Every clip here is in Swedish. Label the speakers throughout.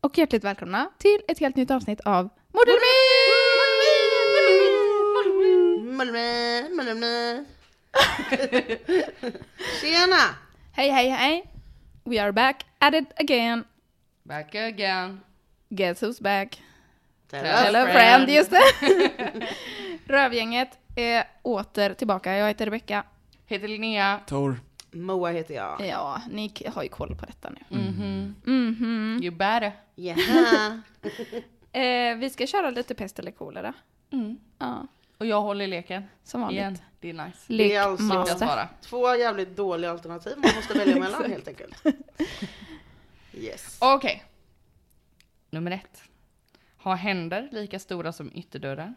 Speaker 1: och hjärtligt välkomna till ett helt nytt avsnitt av Modelmin!
Speaker 2: Malmö, Malmö. Tjena!
Speaker 1: Hej hej hej! We are back at it again.
Speaker 3: Back again.
Speaker 1: Guess who's back?
Speaker 3: Hello,
Speaker 1: Hello friend,
Speaker 3: friend.
Speaker 1: just det! Rövgänget är åter tillbaka. Jag heter Rebecka.
Speaker 3: Heter Linnea.
Speaker 4: Tor.
Speaker 2: Moa heter jag.
Speaker 1: Ja, ni k- har ju koll på detta nu.
Speaker 2: Mm.
Speaker 3: You better.
Speaker 2: Jaha.
Speaker 1: Eh, vi ska köra lite pest eller kolera.
Speaker 2: Mm.
Speaker 1: Ja,
Speaker 3: Och jag håller leken.
Speaker 1: som vanligt.
Speaker 3: Igen. Det är nice.
Speaker 2: Det är alltså-
Speaker 3: Jag
Speaker 1: Lekmaster.
Speaker 3: svarar.
Speaker 2: Två jävligt dåliga alternativ man måste välja mellan helt enkelt. Yes.
Speaker 3: Okej. Nummer ett. Ha händer lika stora som ytterdörrar.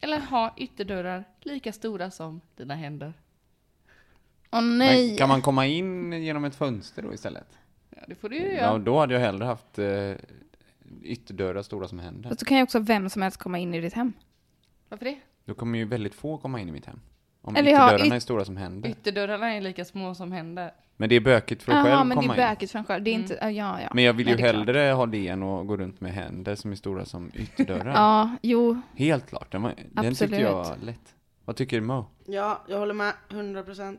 Speaker 3: Eller ha ytterdörrar lika stora som dina händer.
Speaker 1: Åh
Speaker 4: Men
Speaker 1: nej!
Speaker 4: kan man komma in genom ett fönster då istället?
Speaker 3: Ja, det får du ju
Speaker 4: Ja,
Speaker 3: göra.
Speaker 4: då hade jag hellre haft eh, ytterdörrar stora som händer.
Speaker 1: Fast då kan ju också vem som helst komma in i ditt hem.
Speaker 3: Varför det?
Speaker 4: Då kommer ju väldigt få komma in i mitt hem. Om
Speaker 1: Eller jag har
Speaker 4: ytterdörrarna
Speaker 1: yt-
Speaker 4: är stora som händer.
Speaker 3: Ytterdörrarna är lika små som händer.
Speaker 4: Men det är bökigt för att
Speaker 1: Jaha,
Speaker 4: själv
Speaker 1: men det
Speaker 4: komma
Speaker 1: är
Speaker 4: in.
Speaker 1: bökigt för en själv. Det är inte,
Speaker 3: Mm.
Speaker 1: ja, ja, ja.
Speaker 4: Men jag vill
Speaker 1: Nej,
Speaker 4: ju
Speaker 1: det är klart.
Speaker 4: hellre ha det än att gå runt med händer som är stora som ytterdörrar.
Speaker 1: Ja, jo.
Speaker 4: Helt klart. Den, var, den tyckte
Speaker 1: Absolut.
Speaker 4: jag var lätt. Vad tycker Mo?
Speaker 2: Ja, jag håller med. 100%.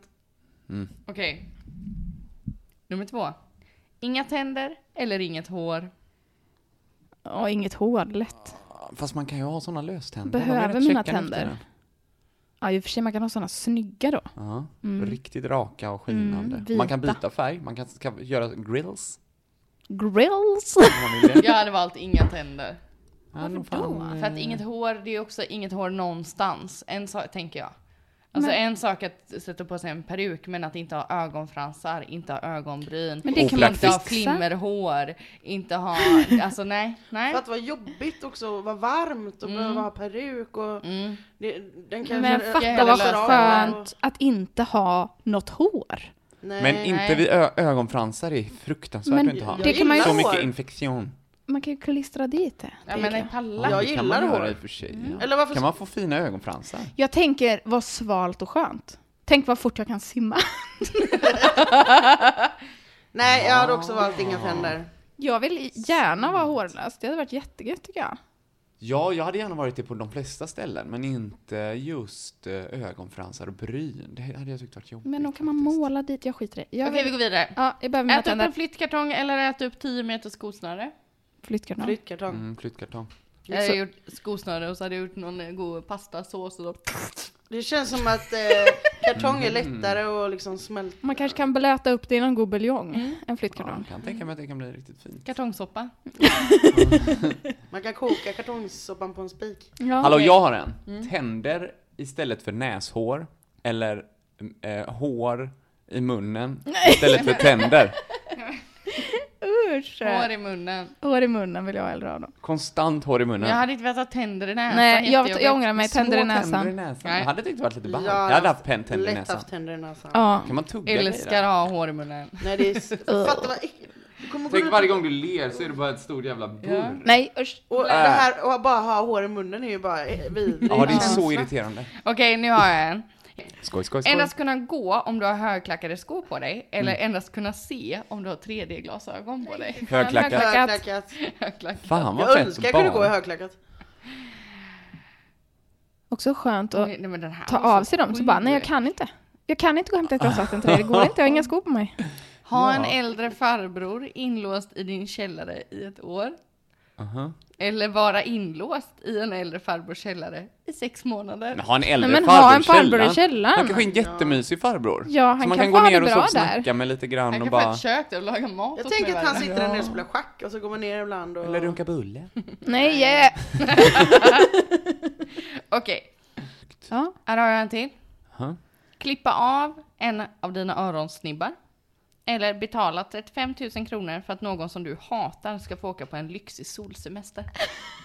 Speaker 3: Okej. Nummer två. Inga tänder eller inget hår.
Speaker 1: Ja, inget hår, lätt.
Speaker 4: Fast man kan ju ha sådana löständer. De är
Speaker 1: Behöver
Speaker 4: rätt
Speaker 1: mina
Speaker 4: käcka nu för
Speaker 1: tänder?
Speaker 4: tiden.
Speaker 1: Ja, i och för sig man kan ha sådana snygga då.
Speaker 4: Ja, riktigt raka och skinande.
Speaker 1: Mm,
Speaker 4: man kan
Speaker 1: vita.
Speaker 4: byta färg, man kan, kan göra grills.
Speaker 1: Grills!
Speaker 4: om man vill det.
Speaker 3: Jag hade valt inga tänder.
Speaker 4: Ja, nog
Speaker 3: Ja,
Speaker 4: fan,
Speaker 3: För att
Speaker 1: Eh.
Speaker 3: inget hår, det är också inget hår någonstans. En sak, tänker jag. Alltså en sak att sätta på sig en peruk, men att inte ha ögonfransar, inte ha ögonbryn,
Speaker 1: Men det kan man
Speaker 3: inte ha
Speaker 1: fixa.
Speaker 3: flimmerhår, inte ha, alltså nej, nej.
Speaker 2: För att vara jobbigt också, och vara varmt och behöva ha peruk och... Det, den kanske
Speaker 1: Men fatta
Speaker 3: hela
Speaker 1: vad
Speaker 3: lösa
Speaker 1: skönt att inte ha något hår.
Speaker 2: Nej.
Speaker 4: Men inte vid ö- ögonfransar är fruktansvärt
Speaker 1: Men
Speaker 4: att inte ha.
Speaker 1: det kan man ju-
Speaker 4: Så
Speaker 2: Hår.
Speaker 4: mycket infektion.
Speaker 1: Man kan ju klistra dit det.
Speaker 3: Ja men nej,
Speaker 4: Ja,
Speaker 3: palla.
Speaker 2: Jag
Speaker 4: det kan
Speaker 2: gillar
Speaker 4: man göra
Speaker 2: hår.
Speaker 4: i och för sig.
Speaker 1: Mm.
Speaker 4: Ja.
Speaker 2: Eller varför
Speaker 4: Kan man få fina ögonfransar?
Speaker 1: Jag tänker vad svalt och skönt. Tänk vad fort jag kan simma.
Speaker 2: Nej, jag hade också valt inga tänder.
Speaker 1: Jag vill gärna vara hårlös. Det hade varit jättegött tycker jag.
Speaker 4: Ja, jag hade gärna varit det på de flesta ställen, men inte just eh, ögonfransar och bryn. Det hade jag tyckt varit jobbigt.
Speaker 1: Men då kan man
Speaker 4: faktiskt.
Speaker 1: måla dit. Jag skiter i det. Jag
Speaker 3: Okej
Speaker 1: vill...
Speaker 3: vi går vidare.
Speaker 1: Ja, jag behöver mina
Speaker 3: Ät upp en
Speaker 1: tänder.
Speaker 3: flyttkartong eller ät upp 10 meter skosnöre.
Speaker 1: Flyttkartong.
Speaker 2: Flyttkartong.
Speaker 4: Mm, flyttkartong.
Speaker 3: Jag hade gjort skosnöre och så hade jag gjort någon eh, god pastasås och då...
Speaker 2: Det känns som att eh,
Speaker 4: Mm.
Speaker 2: kartong är lättare och liksom smälta.
Speaker 1: Man kanske kan blöta upp det i någon god buljong.
Speaker 3: Mm.
Speaker 1: En
Speaker 4: Ja,
Speaker 1: flyttkartong.
Speaker 4: jag kan tänka mig att det kan bli riktigt fint.
Speaker 3: Kartongsoppa.
Speaker 2: Man kan koka kartongsoppan på en spik.
Speaker 1: Ja. Mm.
Speaker 4: Hallå, jag har en. Tänder istället för näshår. Eller eh, hår i munnen istället för tänder.
Speaker 1: Usch!
Speaker 3: Hår i munnen.
Speaker 1: Hår i munnen vill jag ha hellre ha då.
Speaker 4: Konstant hår i munnen.
Speaker 3: Jag hade inte velat ha tänder i näsan.
Speaker 1: Nej, jag,
Speaker 3: jättejobbigt.
Speaker 1: jag ångrar mig. Tänder i
Speaker 4: Små
Speaker 1: näsan.
Speaker 4: Tänder i näsan.
Speaker 3: Nej.
Speaker 4: Jag hade tyckt det varit lite ballt.
Speaker 2: Jag
Speaker 4: Jag
Speaker 2: har
Speaker 4: hade haft pen tänder i
Speaker 2: Lätt
Speaker 4: näsan.
Speaker 2: haft tänder i näsan.
Speaker 1: Ja.
Speaker 4: Kan man tugga
Speaker 3: Älskar
Speaker 4: grejer?
Speaker 3: att ha hår i munnen.
Speaker 2: Nej det är... s- Fatta vad äckligt. Du kommer gå
Speaker 4: Tänk
Speaker 2: runt-
Speaker 4: varje gång Äh. du ler så är det bara ett stort jävla burr.
Speaker 1: Nej, usch.
Speaker 2: Och det här och bara ha hår i munnen är ju bara eh, vidrigt.
Speaker 4: Ja, det är så irriterande.
Speaker 3: Okej, nu har jag en.
Speaker 4: Skoj, skoj, skoj.
Speaker 3: Endast kunna gå om du har högklackade skor på dig, eller endast kunna se om du har 3D-glasögon på dig.
Speaker 4: Högklackat.
Speaker 2: Högklackat.
Speaker 3: Högklackat.
Speaker 4: Fan vad
Speaker 2: Jag
Speaker 4: fett
Speaker 2: önskar jag kunde
Speaker 4: barn.
Speaker 2: gå i högklackat.
Speaker 1: Också skönt att
Speaker 3: Nej, men den här
Speaker 1: ta
Speaker 3: var så
Speaker 1: av sig dem. Så
Speaker 3: sjuk.
Speaker 1: bara, nej jag kan inte. Jag kan inte gå och hämta ett glas vatten till dig, det går inte, jag har inga skor på mig.
Speaker 3: Ha en äldre farbror inlåst i din källare i ett år.
Speaker 4: Aha.
Speaker 3: Eller vara inlåst i en äldre farbrors källare i sex månader.
Speaker 4: Men ha en äldre
Speaker 1: Nej, men
Speaker 4: farbror,
Speaker 1: ha en farbror i källaren.
Speaker 4: Han kanske är en jättemysig farbror.
Speaker 1: Ja, han
Speaker 4: Som man
Speaker 1: kan
Speaker 4: kan
Speaker 1: få
Speaker 4: gå
Speaker 1: ha
Speaker 4: ner
Speaker 1: det
Speaker 4: och så
Speaker 1: bra
Speaker 4: snacka med lite
Speaker 3: Han
Speaker 4: grann
Speaker 3: kan
Speaker 4: och
Speaker 3: få
Speaker 4: bara...
Speaker 3: ett kök där och laga mat
Speaker 2: Jag
Speaker 3: åt
Speaker 2: tänker
Speaker 3: mig
Speaker 2: att han
Speaker 3: varje dag.
Speaker 2: sitter där nere och spelar schack och så går man ner ibland och...
Speaker 4: Eller runka bulle.
Speaker 1: Nej! Yeah.
Speaker 3: Okej,
Speaker 1: Ja.
Speaker 3: här har jag en till.
Speaker 4: Ja.
Speaker 3: Klippa av en av dina öronsnibbar. Eller betala 35 000 kronor för att någon som du hatar ska få åka på en lyxig solsemester.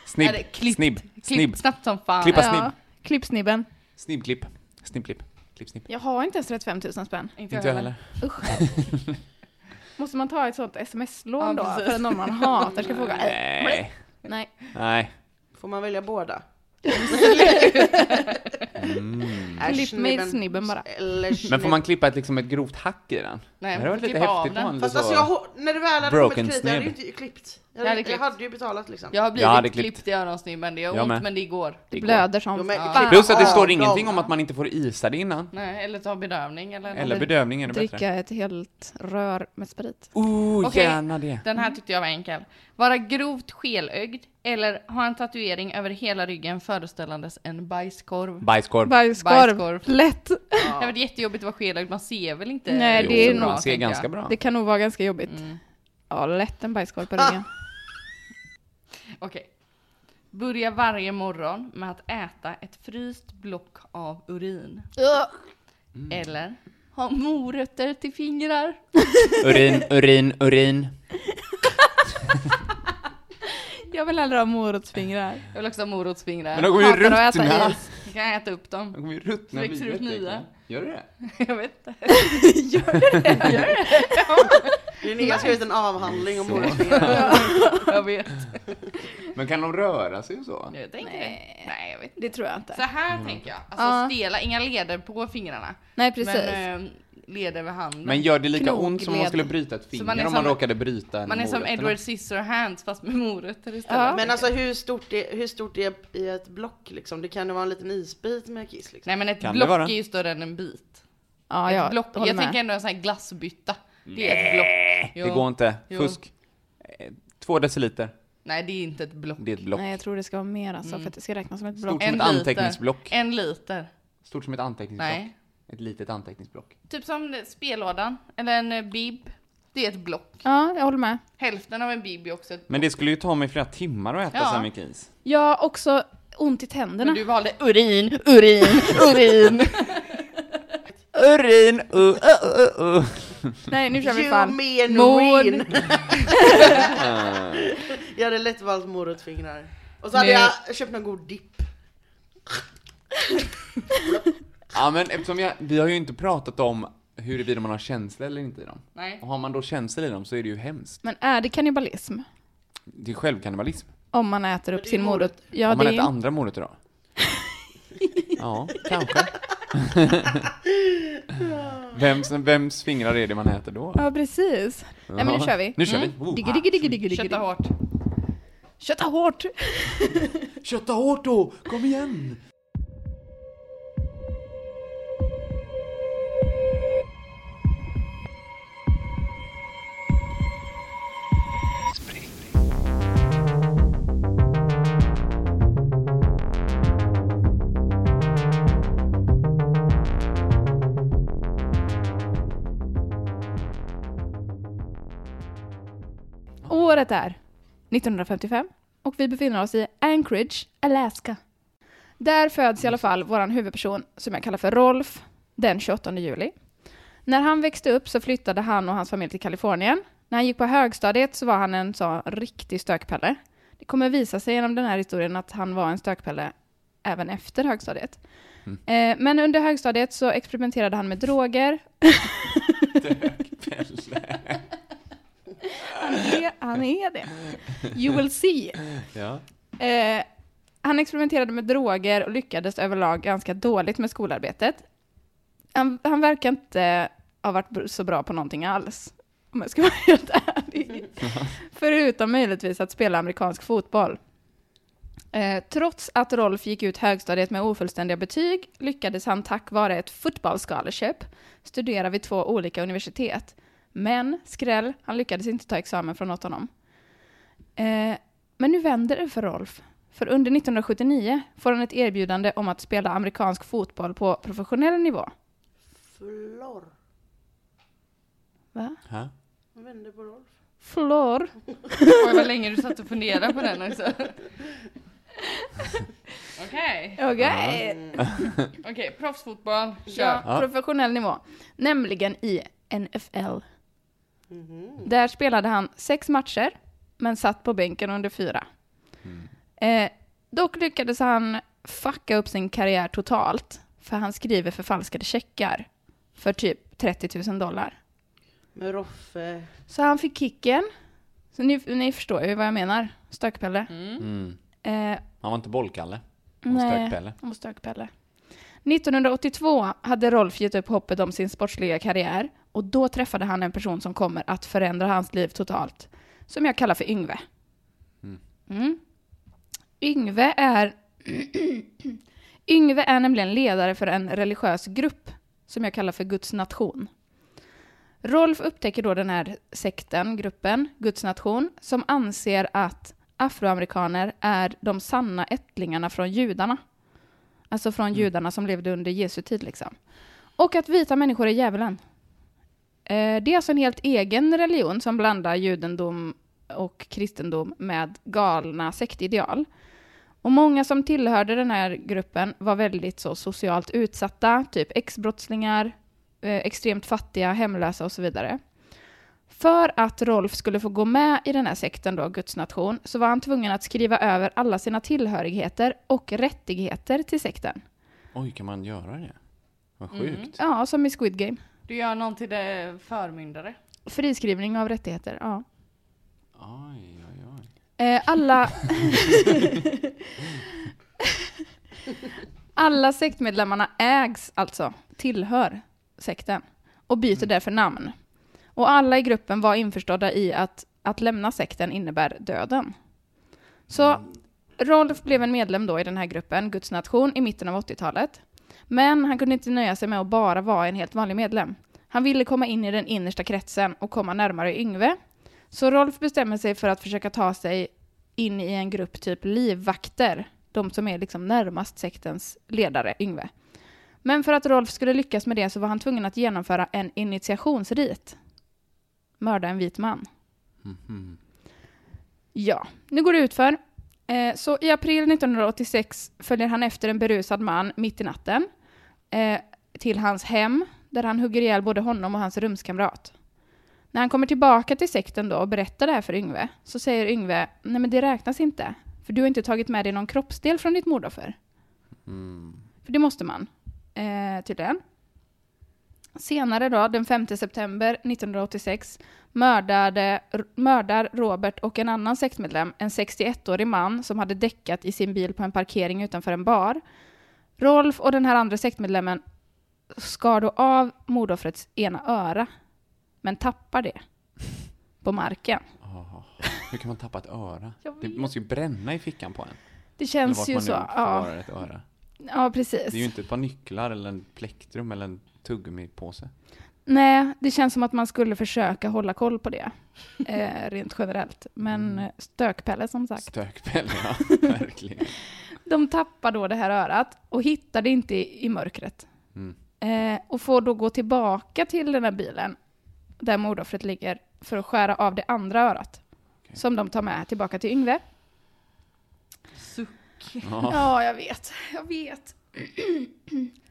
Speaker 4: Snibb,
Speaker 3: Eller klippt-
Speaker 4: snibb,
Speaker 3: klippt
Speaker 4: snibb,
Speaker 3: snabbt som fan.
Speaker 4: Klippa snibb.
Speaker 1: ja. Klippsnibben.
Speaker 4: snibbklipp, snibbklipp, klipp, snibb.
Speaker 1: Jag har inte ens 35 000 spänn.
Speaker 4: Inte jag heller.
Speaker 1: Måste man ta ett sånt
Speaker 3: Ja,
Speaker 1: sms-lån då?
Speaker 3: precis.
Speaker 1: För att någon man hatar ska fråga? "Äh,
Speaker 4: Nej,
Speaker 1: Nej.
Speaker 4: nej.
Speaker 2: Får man välja båda?
Speaker 4: Mm.
Speaker 1: Klipp mig i snibben bara.
Speaker 2: Eller
Speaker 4: Men får man klippa ett, liksom, ett grovt hack i den?
Speaker 3: Nej,
Speaker 4: det
Speaker 3: man får
Speaker 4: hade varit lite
Speaker 3: klippa av
Speaker 4: häftigt
Speaker 3: den.
Speaker 4: med en
Speaker 2: Fast
Speaker 4: lite
Speaker 2: alltså
Speaker 4: så-
Speaker 2: jag, har- när det väl hade
Speaker 4: Broken
Speaker 2: kommit dit, jag hade ju
Speaker 4: snib.
Speaker 2: inte klippt. Jag
Speaker 3: Jag hade
Speaker 2: hade,
Speaker 3: klippt.
Speaker 2: jag hade ju betalat liksom.
Speaker 3: Jag har blivit
Speaker 4: Jag hade
Speaker 3: klippt.
Speaker 4: klippt.
Speaker 3: i öronsnibben, det gör
Speaker 4: Jag
Speaker 3: ont
Speaker 4: med.
Speaker 3: men det går.
Speaker 1: Det blöder som
Speaker 2: Jo, men
Speaker 1: fan.
Speaker 2: klipp-
Speaker 4: Plus att det
Speaker 2: Ja,
Speaker 4: står
Speaker 2: de-
Speaker 4: ingenting om att man inte får isa det innan.
Speaker 3: Nej, eller ta bedövning eller,
Speaker 4: Eller bedövning är det bättre.
Speaker 1: Dricka ett helt rör med sprit.
Speaker 4: Oh,
Speaker 3: Okej.
Speaker 4: gärna det.
Speaker 3: Den här tyckte jag var enkel. Vara grovt skelögd eller ha en tatuering över hela ryggen föreställandes en bajskorv.
Speaker 4: Bajskorv.
Speaker 1: Bajskorv.
Speaker 3: Bajskorv.
Speaker 1: Lätt.
Speaker 3: Det har varit jättejobbigt att vara skelögd, man ser väl inte?
Speaker 1: Nej,
Speaker 4: Jo,
Speaker 1: det är nog-
Speaker 4: man ser
Speaker 3: tänker jag.
Speaker 4: ganska bra.
Speaker 1: Det kan nog vara ganska jobbigt. Ja, lätt en bajskorv på ryggen.
Speaker 3: Okej. Börja varje morgon med att äta ett fryst block av urin.
Speaker 4: Mm.
Speaker 3: Eller ha morötter till fingrar.
Speaker 4: Urin, urin, urin.
Speaker 1: Jag vill hellre ha morotsfingrar.
Speaker 3: Jag vill också ha morotsfingrar.
Speaker 4: Men de kommer ju
Speaker 1: Hatar att äta
Speaker 4: ruttna.
Speaker 1: is.
Speaker 3: Jag kan äta upp
Speaker 4: De
Speaker 3: dem.
Speaker 4: kommer ju ruttna.
Speaker 3: Växer
Speaker 4: vidrigt,
Speaker 3: ut nya.
Speaker 4: egentligen. Gör det det?
Speaker 3: Jag vet inte.
Speaker 2: Linnea har skrivit en avhandling om
Speaker 4: Så.
Speaker 2: moröttsfingrar.
Speaker 3: Jag vet.
Speaker 4: Men kan de röra sig och så?
Speaker 3: Jag tänker Nej. Nej, jag vet
Speaker 1: Det tror jag inte.
Speaker 3: Så här
Speaker 4: Mm.
Speaker 3: tänker jag. Alltså
Speaker 1: Ja.
Speaker 3: stela, inga leder på fingrarna.
Speaker 1: Nej, precis.
Speaker 3: Men eh, leder vid handen.
Speaker 4: Men gör det lika
Speaker 1: Knogled.
Speaker 4: ont som om man skulle bryta ett finger
Speaker 3: man är
Speaker 4: om man
Speaker 3: som-
Speaker 4: råkade bryta en
Speaker 3: man är som
Speaker 4: morot, eller?
Speaker 3: Edward Scissorhands fast med morötter istället.
Speaker 1: Ja.
Speaker 2: Men alltså hur stort, är, hur stort är i ett block liksom? Det kan ju vara en liten isbit med kiss liksom.
Speaker 3: Nej men ett
Speaker 4: Kan det
Speaker 3: block
Speaker 4: vara?
Speaker 3: är ju större än en bit.
Speaker 1: Ja,
Speaker 3: ett
Speaker 1: jag
Speaker 3: block,
Speaker 1: håller
Speaker 3: jag
Speaker 1: med.
Speaker 3: tänker ändå en sån här glassbytta. Det är ett block. Jo.
Speaker 4: Det går inte.
Speaker 3: Jo.
Speaker 4: Fusk. Eh, Två deciliter.
Speaker 3: Nej det är inte ett block.
Speaker 4: Det är ett block.
Speaker 1: Nej, jag tror det ska vara mer alltså,
Speaker 3: Mm.
Speaker 1: för att det ska räknas som ett block.
Speaker 4: Stort som ett anteckningsblock.
Speaker 3: En liter.
Speaker 4: Stort som ett anteckningsblock.
Speaker 3: Nej.
Speaker 4: Ett litet anteckningsblock.
Speaker 3: Typ som spellådan. Eller en eh, bib. Det är ett block.
Speaker 1: Ja, jag håller med.
Speaker 3: Hälften av en bib är också ett
Speaker 4: Men det skulle ju ta mig flera timmar att äta
Speaker 3: Ja.
Speaker 4: så här mycket is.
Speaker 1: Jag har också ont i
Speaker 3: Men
Speaker 1: tänderna.
Speaker 3: du valde urin, urin, urin.
Speaker 4: Urin! Uh, uh, uh, uh.
Speaker 1: Nej, nu kör vi
Speaker 2: You
Speaker 1: fan.
Speaker 2: mean
Speaker 1: Mor-
Speaker 2: Mor... jag hade lätt valt morotfingrar. Och så hade
Speaker 3: Men-
Speaker 2: jag köpt någon god dipp.
Speaker 4: Ja men eftersom jag, vi har ju inte pratat om huruvida man har känslor eller inte i dem.
Speaker 3: Nej.
Speaker 4: Och har man då känslor i dem så är det ju hemskt.
Speaker 1: Men är det kannibalism?
Speaker 4: Det är självkannibalism.
Speaker 1: Om man äter upp sin morot? Ja,
Speaker 4: Om man
Speaker 1: det är
Speaker 4: äter
Speaker 1: ju...
Speaker 4: andra morötter då? ja, kanske. vems, vems fingrar är det man äter då?
Speaker 1: Ja, precis. Nej, men nu kör vi. Mm.
Speaker 4: Nu kör vi. Oh.
Speaker 1: Diggi, diggi, diggi, diggi, diggi.
Speaker 3: Kötta hårt.
Speaker 1: Kötta hårt!
Speaker 4: Kötta hårt då! Kom igen!
Speaker 1: Året är 1955 och vi befinner oss i Anchorage, Alaska. Där föds i alla fall vår huvudperson, som jag kallar för Rolf, den 28 juli. När han växte upp så flyttade han och hans familj till Kalifornien. När han gick på högstadiet så var han en sån riktig stökpelle. Det kommer visa sig genom den här historien att han var en stökpelle även efter högstadiet. Eh, Men under högstadiet så experimenterade han med droger. han, är, han är det. You will see.
Speaker 4: Ja.
Speaker 1: Eh, han experimenterade med droger och lyckades överlag ganska dåligt med skolarbetet. Han, han verkar inte ha varit br- så bra på någonting alls, om jag ska vara helt ärlig. Förutom möjligtvis att spela amerikansk fotboll. Eh, trots att Rolf gick ut högstadiet med ofullständiga betyg lyckades han tack vare ett football scholarship studera vid två olika universitet. Men, skräll, han lyckades inte ta examen från något av dem. Eh, men nu vänder det för Rolf. För under 1979 får han ett erbjudande om att spela amerikansk fotboll på professionell nivå.
Speaker 2: Flor.
Speaker 1: Va?
Speaker 4: Ha?
Speaker 2: Jag vänder på Rolf.
Speaker 1: Flor?
Speaker 3: Oj vad länge du satt och funderade på den också. Okej,
Speaker 1: Okej.
Speaker 3: okej, proffsfotboll,
Speaker 1: Ja,
Speaker 3: kör.
Speaker 1: professionell nivå. Nämligen i NFL. Där spelade han sex matcher, men satt på bänken under fyra. Eh, dock lyckades han fucka upp sin karriär totalt, för han skriver förfalskade checkar för typ 30 000 dollar.
Speaker 2: Med Roffe.
Speaker 1: Så han fick kicken. Så ni, ni förstår ju vad jag menar. Stökpelle.
Speaker 4: Mm.
Speaker 1: Eh,
Speaker 4: Han var inte bollkalle. Han var
Speaker 1: Nej,
Speaker 4: stökpelle.
Speaker 1: han var stökpelle. 1982 hade Rolf gett upp hoppet om sin sportsliga karriär och då träffade han en person som kommer att förändra hans liv totalt, som jag kallar för Yngve. Mm. Yngve är... Yngve är nämligen ledare för en religiös grupp som jag kallar för Guds nation. Rolf upptäcker då den här sekten, gruppen, Guds nation, som anser att afroamerikaner är de sanna ättlingarna från judarna. Alltså från judarna som levde under Jesu tid liksom. Och att vita människor är djävulen. Eh, Det är alltså en helt egen religion som blandar judendom och kristendom med galna sektideal. Och många som tillhörde den här gruppen var väldigt så socialt utsatta, typ ex-brottslingar, eh, extremt fattiga, hemlösa och så vidare. För att Rolf skulle få gå med i den här sekten då, Guds nation, så var han tvungen att skriva över alla sina tillhörigheter och rättigheter till sekten.
Speaker 4: Oj, kan man göra det? Vad sjukt.
Speaker 1: Ja, som i Squid Game.
Speaker 3: Du gör någon till det förmyndare.
Speaker 1: Friskrivning av rättigheter, ja.
Speaker 4: Oj, oj, oj.
Speaker 1: Eh, alla... alla sektmedlemmarna ägs alltså, tillhör sekten och byter därför namn. Och alla i gruppen var införstådda i att att lämna sekten innebär döden. Så Rolf blev en medlem då i den här gruppen, Guds nation, i mitten av 80-talet. Men han kunde inte nöja sig med att bara vara en helt vanlig medlem. Han ville komma in i den innersta kretsen och komma närmare Yngve. Så Rolf bestämmer sig för att försöka ta sig in i en grupp typ livvakter, de som är liksom närmast sektens ledare, Yngve. Men för att Rolf skulle lyckas med det så var han tvungen att genomföra en initiationsrit. Mörda en vit man. Ja, nu går det utför. Eh, så i april 1986 följer han efter en berusad man mitt i natten eh, till hans hem där han hugger ihjäl både honom och hans rumskamrat. När han kommer tillbaka till sekten då och berättar det här för Yngve så säger Yngve nej men det räknas inte för du har inte tagit med dig någon kroppsdel från ditt mordoffer. För det måste man eh, tydligen. Senare då, den 5 september 1986, mördade, r- mördar Robert och en annan sektmedlem en 61-årig man som hade däckat i sin bil på en parkering utanför en bar. Rolf och den här andra sektmedlemmen skar då av mordoffrets ena öra, men tappar det på marken.
Speaker 4: Åh, Hur kan man tappa ett öra?
Speaker 1: Jag
Speaker 4: Det
Speaker 1: vet.
Speaker 4: måste ju bränna i fickan på en.
Speaker 1: Det
Speaker 4: Eller
Speaker 1: känns
Speaker 4: vart
Speaker 1: ju
Speaker 4: man nu
Speaker 1: så. Ja,
Speaker 4: förvarar ett öra.
Speaker 1: ja, precis.
Speaker 4: Det är ju inte ett par nycklar eller en plektrum eller en tuggummipåse.
Speaker 1: Nej, det känns som att man skulle försöka hålla koll på det, eh, rent generellt. Men
Speaker 4: Mm.
Speaker 1: eh, stökpelle som sagt.
Speaker 4: Stökpelle, ja. Verkligen.
Speaker 1: De tappar då det här örat och hittar det inte i, i mörkret.
Speaker 4: Mm.
Speaker 1: Eh, och får då gå tillbaka till den här bilen där mordoffret ligger för att skära av det andra örat.
Speaker 4: Okej.
Speaker 1: Som de tar med tillbaka till Yngve.
Speaker 3: Suck.
Speaker 4: Ja.
Speaker 1: Ja, jag vet. Jag vet.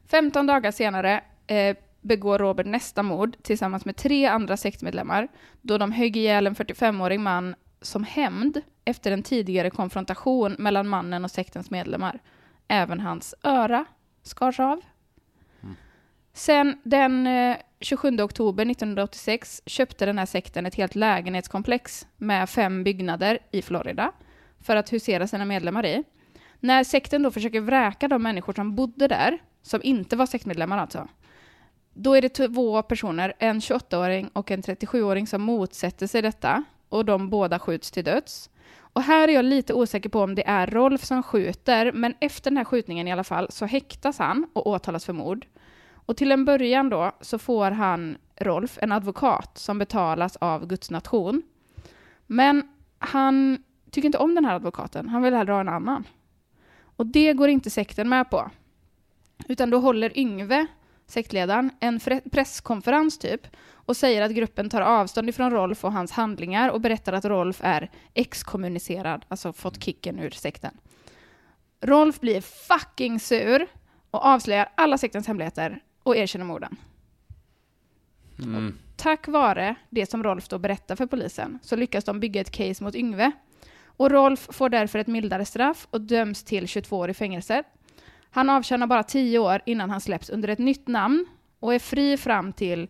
Speaker 1: 15 dagar senare eh, begår Robert nästa mord tillsammans med tre andra sektmedlemmar då de högg ihjäl en 45-årig man som hämnd efter en tidigare konfrontation mellan mannen och sektens medlemmar. Även hans öra skars av. Sen den eh, 27 oktober 1986 köpte den här sekten ett helt lägenhetskomplex med fem byggnader i Florida för att husera sina medlemmar i. När sekten då försöker vräka de människor som bodde där, som inte var sektmedlemmar alltså, då är det två personer, en 28-åring och en 37-åring som motsätter sig detta och de båda skjuts till döds. Och här är jag lite osäker på om det är Rolf som skjuter, men efter den här skjutningen i alla fall så häktas han och åtalas för mord. Och till en början då så får han, Rolf, en advokat som betalas av Guds nation. Men han tycker inte om den här advokaten, han vill hellre ha en annan. Och det går inte sekten med på. Utan då håller Yngve, sektledaren, en fre- presskonferens typ och säger att gruppen tar avstånd ifrån Rolf och hans handlingar och berättar att Rolf är exkommunicerad, alltså fått kicken ur sekten. Rolf blir fucking sur och avslöjar alla sektens hemligheter och erkänner morden.
Speaker 4: Mm.
Speaker 1: Tack vare det som Rolf då berättar för polisen så lyckas de bygga ett case mot Yngve. Och Rolf får därför ett mildare straff och döms till 22 år i fängelse. Han avtjänar bara 10 år innan han släpps under ett nytt namn och är fri fram till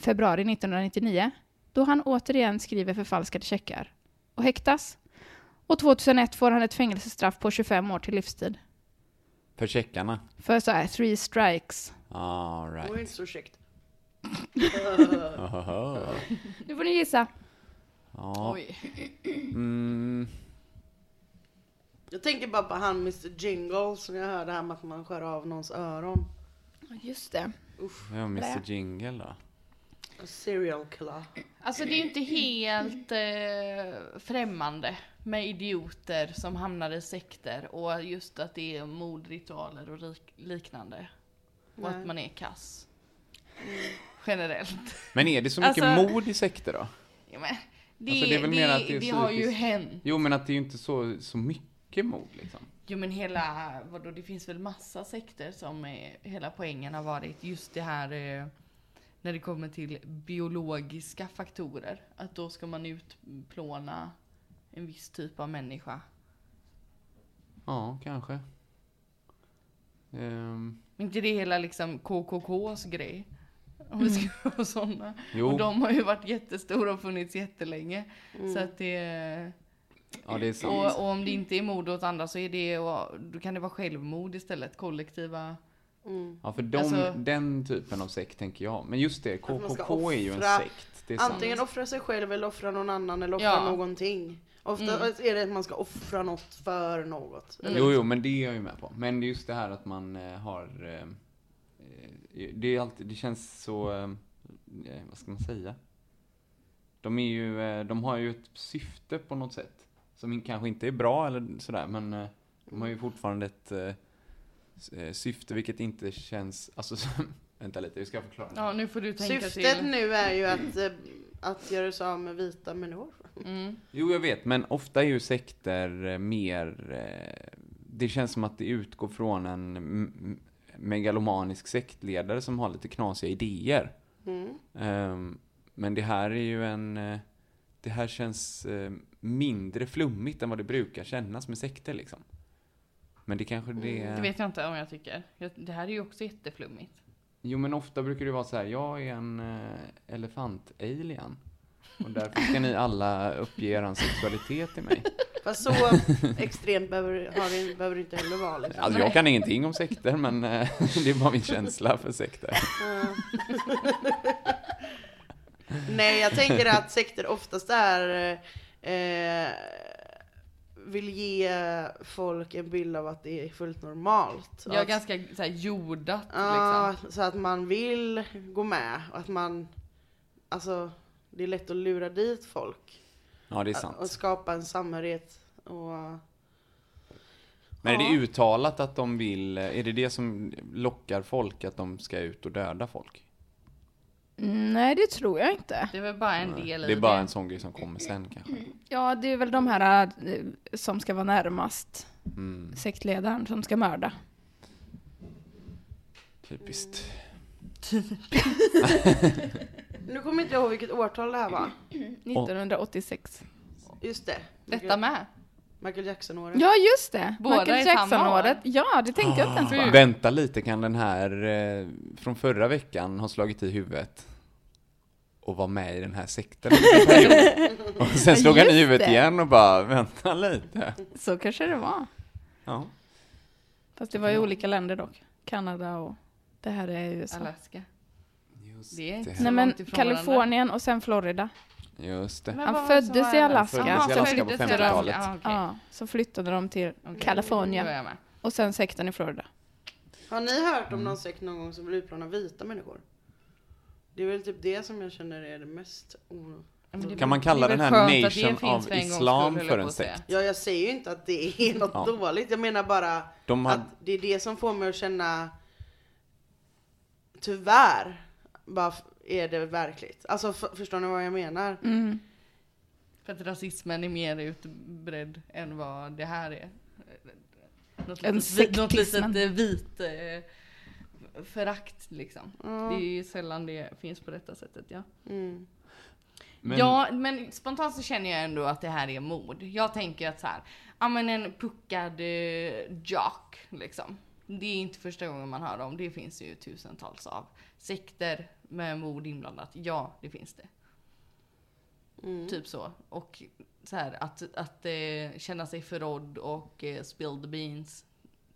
Speaker 1: februari 1999 då han återigen skriver förfalskade checkar och häktas. Och 2001 får han ett fängelsestraff på 25 år till livstid
Speaker 4: För checkarna.
Speaker 1: för så här three strikes.
Speaker 4: All
Speaker 2: Det var
Speaker 4: right.
Speaker 2: inte så käckt.
Speaker 4: Ohoho.
Speaker 1: Nu får ni gissa.
Speaker 4: Ja.
Speaker 3: Oj.
Speaker 4: Mm.
Speaker 2: Jag tänker bara på han Mr Jingle som jag hörde här med att man skär av någons öron.
Speaker 1: Just det.
Speaker 4: Vem var Mr Jingle då?
Speaker 2: A serial killer.
Speaker 3: Alltså det är ju inte helt eh, främmande med idioter som hamnar i sekter och just att det är mordritualer och rik- liknande. Och att man är kass. Generellt.
Speaker 4: Men är det så mycket
Speaker 3: Alltså-
Speaker 4: mord i sekter då?
Speaker 3: Ja, men det,
Speaker 4: Alltså, det är väl mer att det
Speaker 3: det,
Speaker 4: är
Speaker 3: har ju
Speaker 4: psykiskt-
Speaker 3: hänt.
Speaker 4: Jo, men att det är ju inte så, så mycket mord liksom.
Speaker 3: Jo men hela, vadå det finns väl massa sekter som är, hela poängen har varit just det här eh, när det kommer till biologiska faktorer. Att då ska man utplåna en viss typ av människa.
Speaker 4: Ja, kanske. Ehm,
Speaker 3: Men inte det hela liksom KKKs grej? Om vi ska vara sådana.
Speaker 4: Jo.
Speaker 3: Och de har ju varit jättestora och funnits jättelänge. Så att det...
Speaker 4: ja, det är sant.
Speaker 3: Och, och om det inte är mord åt andra så är det, och då kan det vara självmord istället. Kollektiva...
Speaker 4: Ja, för de,
Speaker 3: Alltså-
Speaker 4: den typen av sekt tänker jag. Men just det,
Speaker 2: man ska
Speaker 4: KKK är ju en
Speaker 2: offra-
Speaker 4: sekt. Det är sant.
Speaker 2: Antingen offra sig själv eller offra någon annan eller offra
Speaker 3: Ja.
Speaker 2: någonting. Ofta är det att man ska offra något för något. Eller-
Speaker 4: Mm.
Speaker 2: liksom.
Speaker 4: Jo, jo, men det är jag ju med på. Men det är just det här att man eh, har... eh, eh, Det, är alltid, det känns så... eh, Vad ska man säga? De, är ju, eh, de har ju ett syfte på något sätt. Som in- kanske inte är bra eller sådär, men eh, de har ju fortfarande ett eh, s- eh, syfte, vilket inte känns... Alltså, som- vänta lite, hur ska jag förklara?
Speaker 3: Ja, nu får du tänka
Speaker 2: Syftet
Speaker 3: till.
Speaker 2: nu är ju att, eh, att göra sig av med vita människor.
Speaker 3: Mm.
Speaker 4: Jo, jag vet, men ofta är ju sekter eh, mer... eh, Det känns som att det utgår från en m- m- megalomanisk sektledare som har lite knasiga idéer.
Speaker 3: Mm.
Speaker 4: Ehm, men det här är ju en... eh, Det här känns eh, mindre flummigt än vad det brukar kännas med sekter liksom. Men det kanske det...
Speaker 3: Mm, Det vet jag inte om jag tycker. Jag- Det här är ju också jätteflummigt.
Speaker 4: Jo, men ofta brukar det vara så här, jag är en eh, elefant-alien. Och därför ska ni alla uppge er sexualitet till mig.
Speaker 2: Fast så extremt behöver, har det, behöver det inte heller vara. Liksom.
Speaker 4: Alltså jag kan ingenting om sekter, men eh, det är bara min känsla för sekter.
Speaker 2: Nej, jag tänker att sekter oftast är eh, vill ge folk en bild av att det är fullt normalt.
Speaker 3: Jag är
Speaker 2: Att-
Speaker 3: ganska så här, jordat
Speaker 2: Ja,
Speaker 3: liksom.
Speaker 2: så att man vill gå med och att man Alltså det är lätt att lura dit folk
Speaker 4: Ja, det är
Speaker 2: och
Speaker 4: sant.
Speaker 2: skapa en samhörighet och
Speaker 4: Men är det uttalat att de vill, eh, är det det som lockar folk att de ska ut och döda folk?
Speaker 1: Mm, Nej, det tror jag inte.
Speaker 3: Det är väl bara en del
Speaker 4: Det
Speaker 3: i
Speaker 4: är bara en sån grej som kommer sen kanske.
Speaker 1: Ja, det är väl de här eh, som ska vara närmast sektledaren som ska mörda.
Speaker 4: Typiskt.
Speaker 2: Nu kommer inte jag ihåg vilket årtal det här var
Speaker 4: Och-
Speaker 1: 1986.
Speaker 2: Just det
Speaker 3: Detta med.
Speaker 2: Michael Jackson-året
Speaker 1: Ja, just det!
Speaker 3: Båda
Speaker 1: Michael
Speaker 3: är samma
Speaker 1: Jackson-året.
Speaker 3: år. Ah.
Speaker 1: Ja, det tänkte jag inte ens
Speaker 3: Mm.
Speaker 1: på.
Speaker 4: Vänta lite, kan den här eh, från förra veckan ha slagit i huvudet? Och vara med i den här sekten under en period. Och sen slog han i
Speaker 1: Just
Speaker 4: huvudet
Speaker 1: det.
Speaker 4: igen och bara, vänta lite.
Speaker 1: Så kanske det var.
Speaker 4: Ja.
Speaker 1: Fast det var i olika länder dock. Kanada och... Det här är USA.
Speaker 3: Alaska.
Speaker 4: Just
Speaker 3: Det är inte
Speaker 4: det.
Speaker 3: så
Speaker 1: Nej men
Speaker 3: långt ifrån varandra.
Speaker 1: Kalifornien och sen Florida.
Speaker 4: Just det.
Speaker 5: Men
Speaker 1: Han
Speaker 5: vad-
Speaker 1: föddes
Speaker 5: vad är
Speaker 1: i
Speaker 5: det?
Speaker 1: Alaska.
Speaker 4: Han föddes i Alaska på
Speaker 5: föddes i
Speaker 4: 50-talet.
Speaker 3: Ja, okej.
Speaker 1: Ja, så flyttade de till
Speaker 3: Okej, Då är
Speaker 1: Kalifornien
Speaker 3: jag med.
Speaker 1: och sen sekten i Florida.
Speaker 2: Har ni hört
Speaker 4: Mm.
Speaker 2: om någon sekt någon gång som vill utplåna vita människor? Det är väl typ det som jag känner är det mest o...
Speaker 3: Ja, men det-
Speaker 4: Kan man kalla
Speaker 3: det är
Speaker 4: den
Speaker 3: väl
Speaker 4: här
Speaker 3: skönt att det
Speaker 4: Nation
Speaker 3: finns
Speaker 4: of
Speaker 3: för en gångs
Speaker 4: Islam
Speaker 3: skull, höll
Speaker 4: för
Speaker 3: jag
Speaker 4: en
Speaker 3: på att säga.
Speaker 4: sekt?
Speaker 2: Ja, jag säger ju inte att det är något
Speaker 4: Ja.
Speaker 2: dåligt. Jag menar bara
Speaker 4: De hade-
Speaker 2: att det är det som får mig att känna... Tyvärr, bara f- är det verkligt. Alltså f- förstår ni vad jag menar?
Speaker 3: Mm. För att rasismen är mer utbredd än vad det här är. Något
Speaker 1: Än
Speaker 3: litet, vi- något
Speaker 1: sektismen.
Speaker 3: litet eh, vit eh, förakt liksom. Det är ju sällan det finns på detta sättet ja.
Speaker 4: Men-
Speaker 3: Ja men spontant så känner jag ändå att det här är mod. Jag tänker att så här, ja men en puckad eh, jock liksom. Det är inte första gången man hör om, det finns ju tusentals av. Sekter med mord inblandat, ja det finns det. Typ så. Och så här, att, att eh, känna sig förrådd och eh, spill the beans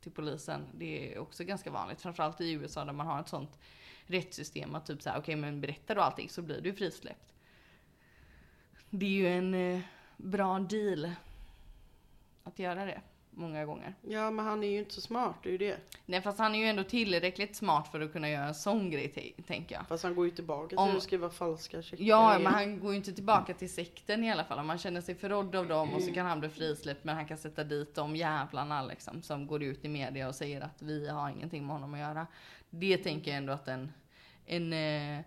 Speaker 3: till polisen. Det är också ganska vanligt. Framförallt i USA där man har ett sånt rättssystem att typ så här, okej men berättar du allting så blir du frisläppt. Det är ju en eh, bra deal att göra det många gånger.
Speaker 2: Ja, men han är ju inte så smart, det är ju det.
Speaker 3: Nej fast han är ju ändå tillräckligt smart för att kunna göra en sån grej t- tänker jag.
Speaker 2: Fast han går ju tillbaka till
Speaker 3: Om-
Speaker 2: att skriva falska checkar.
Speaker 3: Ja,
Speaker 2: igen.
Speaker 3: men han går ju inte tillbaka till sekten i alla fall. Om han känner sig förrådd av dem och så kan han bli frisläppt. Men han kan sätta dit de jävlarna liksom, som går ut i media och säger att vi har ingenting med honom att göra. Det tänker jag ändå att en, en eh,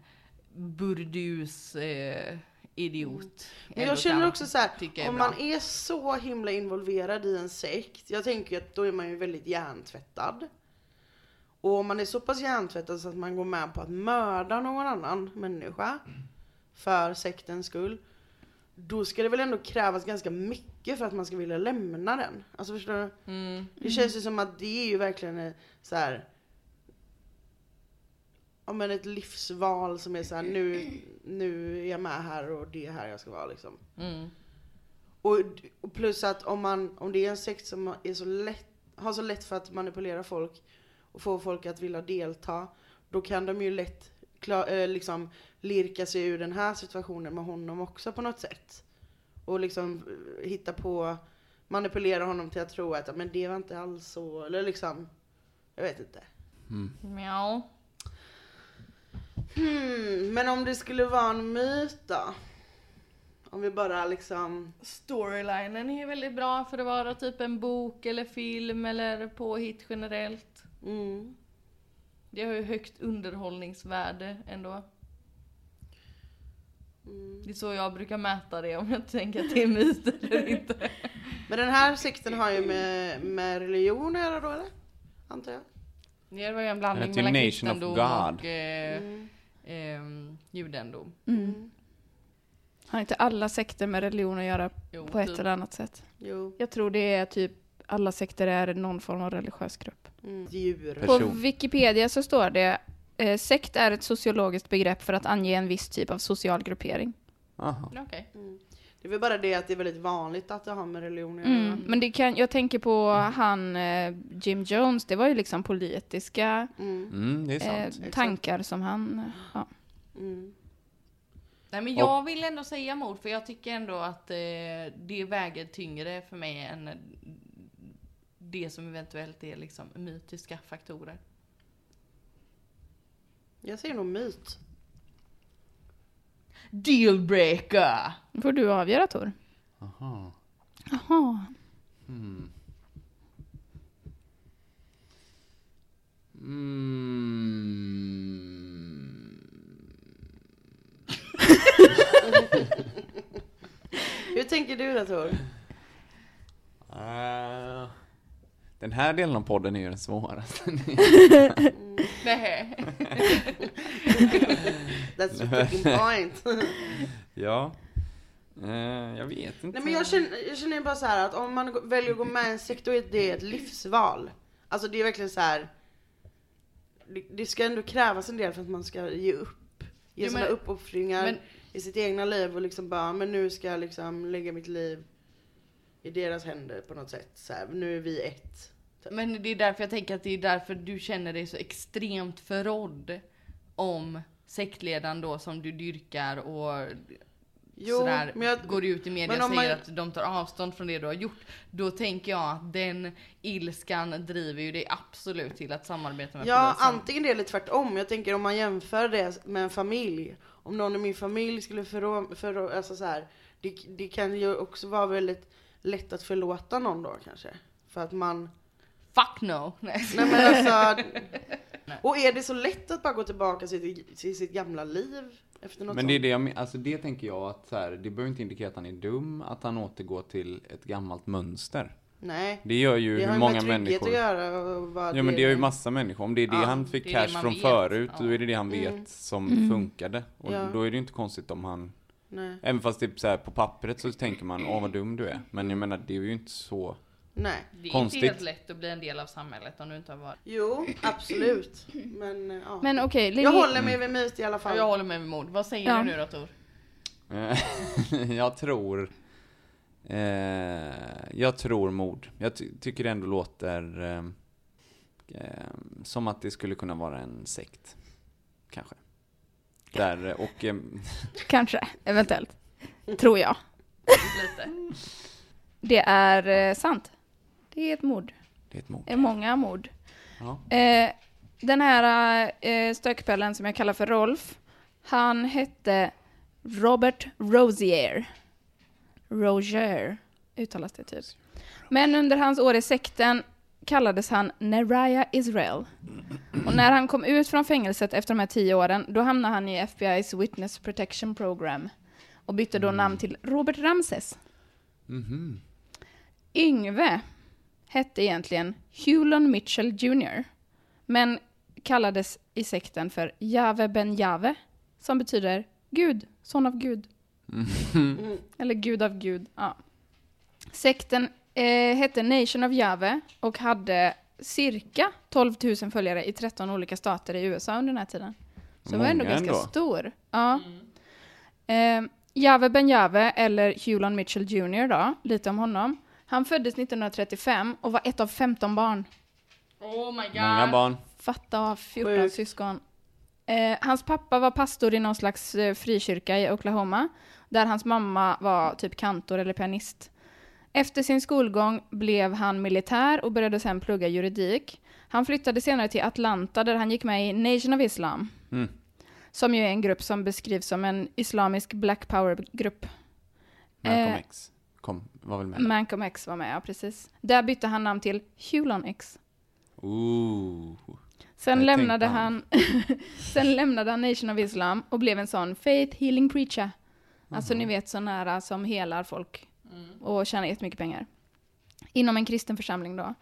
Speaker 3: burdus eh, idiot.
Speaker 2: Men
Speaker 3: ändå
Speaker 2: jag känner
Speaker 3: kan
Speaker 2: också så här,
Speaker 3: tycka är
Speaker 2: om
Speaker 3: bra.
Speaker 2: man är så himla involverad i en sekt, jag tänker ju att då är man ju väldigt hjärntvättad. Och om man är så pass hjärntvättad så att man går med på att mörda någon annan människa för sektens skull, då ska det väl ändå krävas ganska mycket för att man ska vilja lämna den. Alltså förstår du?
Speaker 3: Mm.
Speaker 2: Det känns ju som att det är ju verkligen eh, så här. Ja men ett livsval som är så här, nu, nu är jag med här och det är här jag ska vara liksom. Och, och plus att om, man, om det är en sekt som är så lätt, har så lätt för att manipulera folk och få folk att vilja delta, då kan de ju lätt kla, eh, liksom lirka sig ur den här situationen med honom också på något sätt. Och liksom eh, hitta på, manipulera honom till att tro att "Ja, men det var inte alls så, eller liksom, jag vet inte.
Speaker 3: Mjau.
Speaker 2: Hmm, men om det skulle vara en myt då? Om vi bara liksom,
Speaker 3: Storylinen är väldigt bra för att vara typ en bok eller film eller påhitt generellt.
Speaker 2: mm.
Speaker 3: Det har ju högt underhållningsvärde ändå.
Speaker 2: Mm.
Speaker 3: Det är så jag brukar mäta det om jag tänker att det är myt eller inte.
Speaker 2: Men den här sekten har ju med, med religion att göra då eller? Antar jag.
Speaker 3: Det var ju en blandning
Speaker 4: Det är
Speaker 3: mellan
Speaker 4: typ Nation of
Speaker 3: kristendom
Speaker 4: God.
Speaker 3: och eh,
Speaker 2: Mm.
Speaker 3: ehm, judendom.
Speaker 1: Mm. Har inte alla sekter med religion att göra
Speaker 3: Jo,
Speaker 1: på ett
Speaker 3: typ.
Speaker 1: eller annat sätt?
Speaker 2: Jo.
Speaker 1: Jag tror det är typ alla sekter är någon form av religiös grupp.
Speaker 2: Mm. Djur.
Speaker 1: På
Speaker 4: Person.
Speaker 1: Wikipedia så står det eh, sekt är ett sociologiskt begrepp för att ange en viss typ av social gruppering.
Speaker 4: Aha.
Speaker 3: Okej.
Speaker 2: Det är väl bara det att det är väldigt vanligt att det har med religion att göra.
Speaker 1: Mm. Men det kan, jag tänker på han eh, Jim Jones, det var ju liksom politiska
Speaker 4: Mm, det är
Speaker 1: eh,
Speaker 4: sant.
Speaker 1: tankar som han... Ja.
Speaker 2: Mm.
Speaker 3: Nej men jag vill ändå säga mord för jag tycker ändå att eh, det väger tyngre för mig än det som eventuellt är liksom mytiska faktorer.
Speaker 2: Jag säger nog myt.
Speaker 3: Dealbreaker!
Speaker 1: Nu får du avgöra Tor.
Speaker 4: Aha.
Speaker 1: Jaha.
Speaker 4: Mm.
Speaker 2: Hur tänker du då Tor?
Speaker 4: Eh, Den här delen av podden är ju den svåraste.
Speaker 3: Nej.
Speaker 2: That's the fucking point.
Speaker 4: ja. Eh, jag vet inte.
Speaker 2: Nej men jag känner, jag känner ju bara så här att om man gå- väljer att gå med i en sekt då är det ett livsval. Alltså det är verkligen så här. Det, det ska ändå krävas en del för att man ska ge upp. Ge
Speaker 3: Jo,
Speaker 2: sådana
Speaker 3: men-
Speaker 2: uppoffringar
Speaker 3: men-
Speaker 2: i sitt egna liv och liksom bara, men nu ska jag liksom lägga mitt liv i deras händer på något sätt. Så här, nu är vi ett.
Speaker 3: Men det är därför jag tänker att det är därför du känner dig så extremt förrådd om sektledaren då som du dyrkar och
Speaker 2: Jo,
Speaker 3: sådär,
Speaker 2: men jag-
Speaker 3: går ut i media
Speaker 2: men
Speaker 3: och
Speaker 2: om
Speaker 3: säger
Speaker 2: man-
Speaker 3: att de tar avstånd från det du har gjort. Då tänker jag att den ilskan driver ju dig absolut till att samarbeta med
Speaker 2: Ja,
Speaker 3: polisen.
Speaker 2: antingen det eller tvärtom. Jag tänker om man jämför det med en familj. Om någon i min familj skulle förrå... förrå alltså så här, det, det kan ju också vara väldigt lätt att förlåta någon då kanske. För att man...
Speaker 3: Fuck no! Nej.
Speaker 2: Nej men alltså... Och är det så lätt att bara gå tillbaka till, till sitt gamla liv? Efter något
Speaker 4: Men det är
Speaker 2: sånt?
Speaker 4: det jag men- alltså det tänker jag att så här, det behöver inte indikera att han är dum, att han återgår till ett gammalt mönster.
Speaker 2: Nej.
Speaker 4: Det gör ju
Speaker 2: Det har
Speaker 4: hur
Speaker 2: ju med
Speaker 4: många
Speaker 2: trygghet
Speaker 4: människor...
Speaker 2: att göra. Och vad
Speaker 4: Ja men det är ju massa människor. Om det är det
Speaker 3: Ja,
Speaker 4: han fick
Speaker 3: det är det
Speaker 4: cash
Speaker 3: man
Speaker 4: från
Speaker 3: vet.
Speaker 4: förut,
Speaker 3: Ja.
Speaker 4: då är det det han vet som funkade. Och
Speaker 2: Mm. Ja.
Speaker 4: då är det ju inte konstigt om han...
Speaker 2: Nej.
Speaker 4: Även fast typ så här, på pappret så tänker man åh vad dum du är. Men jag menar det är ju inte så...
Speaker 2: Nej.
Speaker 3: Det är
Speaker 4: Konstigt.
Speaker 3: inte helt lätt att bli en del av samhället om du inte har varit
Speaker 2: Jo, absolut. Men eh, ja.
Speaker 1: Men okej,
Speaker 2: jag
Speaker 1: Lili-
Speaker 2: håller mig vid myt i alla fall.
Speaker 3: Jag håller med med mod. Vad säger
Speaker 1: Ja.
Speaker 3: du nu då Tor?
Speaker 4: Eh, jag tror... Eh, jag tror mod. Jag ty- tycker det ändå låter... Eh, eh, som att det skulle kunna vara en sekt. Kanske. Där, eh, och... Eh,
Speaker 1: Kanske, eventuellt. Tror jag.
Speaker 3: Lite.
Speaker 1: Det är eh, sant. Det är ett mord.
Speaker 4: det är ett mod.
Speaker 1: Eh, Många mord.
Speaker 4: Ja.
Speaker 1: Eh, den här eh, stökpellen som jag kallar för Rolf, han hette Robert Rosier. Roger uttalas det typ. Men under hans år i sekten kallades han Neraya Israel. Och när han kom ut från fängelset efter de här tio åren, då hamnade han i FBI's Witness Protection Program och bytte då namn till Robert Ramses. Yngve hette egentligen Hulon Mitchell Jr. Men kallades i sekten för Jave Ben Jave, som betyder Gud, son av Gud.
Speaker 4: Mm.
Speaker 1: Eller Gud av Gud, ja. Sekten eh, hette Nation of Jave och hade cirka 12 000 följare i 13 olika stater i USA under den här tiden. Så den var ändå
Speaker 4: Många
Speaker 1: ganska
Speaker 4: ändå.
Speaker 1: stor. Ja. Eh, Jave Ben Jave, eller Hulon Mitchell Jr då, lite om honom. Han föddes 1935 och var ett av 15 barn.
Speaker 3: Oh my god.
Speaker 4: Många barn.
Speaker 1: Fatta att ha 14
Speaker 2: Sjukt.
Speaker 1: syskon. Eh, hans pappa var pastor i någon slags eh, frikyrka i Oklahoma, där hans mamma var typ kantor eller pianist. Efter sin skolgång blev han militär och började sen plugga juridik. Han flyttade senare till Atlanta där han gick med i Nation of Islam, som ju är en grupp som beskrivs som en islamisk black power-grupp.
Speaker 4: Malcolm
Speaker 1: Eh,
Speaker 4: X. Kom, var väl med.
Speaker 1: Malcolm X var med, ja precis. Där bytte han namn till Hulon X.
Speaker 4: Ooh.
Speaker 1: Sen
Speaker 4: Jag
Speaker 1: lämnade,
Speaker 4: tänkte
Speaker 1: han, sen lämnade han Nation of Islam och blev en sån faith healing preacher. Alltså ni vet sån här som helar folk och tjänar jättemycket pengar. Inom en kristen församling då.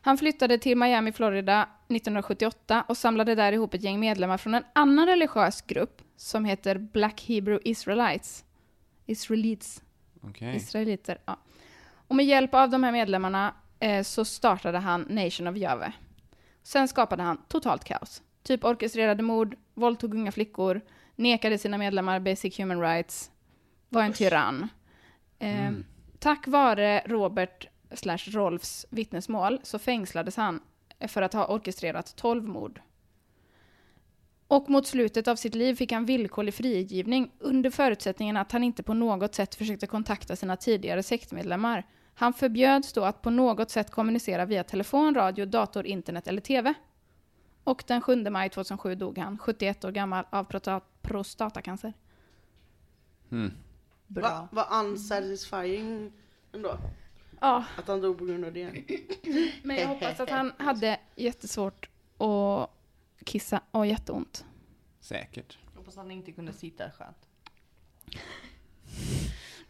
Speaker 1: Han flyttade till Miami, Florida 1978 och samlade där ihop ett gäng medlemmar från en annan religiös grupp som heter Black Hebrew Israelites. Israelites.
Speaker 4: Okej.
Speaker 1: Israeliter, ja. Och med hjälp av de här medlemmarna eh, så startade han Nation of Jave. Sen skapade han totalt kaos. Typ orkestrerade mord, våldtog unga flickor, nekade sina medlemmar basic human rights, var en tyrann. Eh, Tack vare Robert slash Rolfs vittnesmål så fängslades han eh, för att ha orkestrerat 12 mord. Och mot slutet av sitt liv fick han villkorlig frigivning under förutsättningen att han inte på något sätt försökte kontakta sina tidigare sektmedlemmar. Han förbjöds då att på något sätt kommunicera via telefon, radio, dator, internet eller TV. Och den 7 maj 2007 dog han, 71 år gammal, av prota- prostatacancer.
Speaker 2: Va- Vad unsatisfying ändå.
Speaker 1: Ja,
Speaker 2: Att han dog på grund av det.
Speaker 1: men jag hoppas att han hade jättesvårt att kissa och jätteont.
Speaker 4: Säkert.
Speaker 3: Hoppas han inte kunde sitta skönt.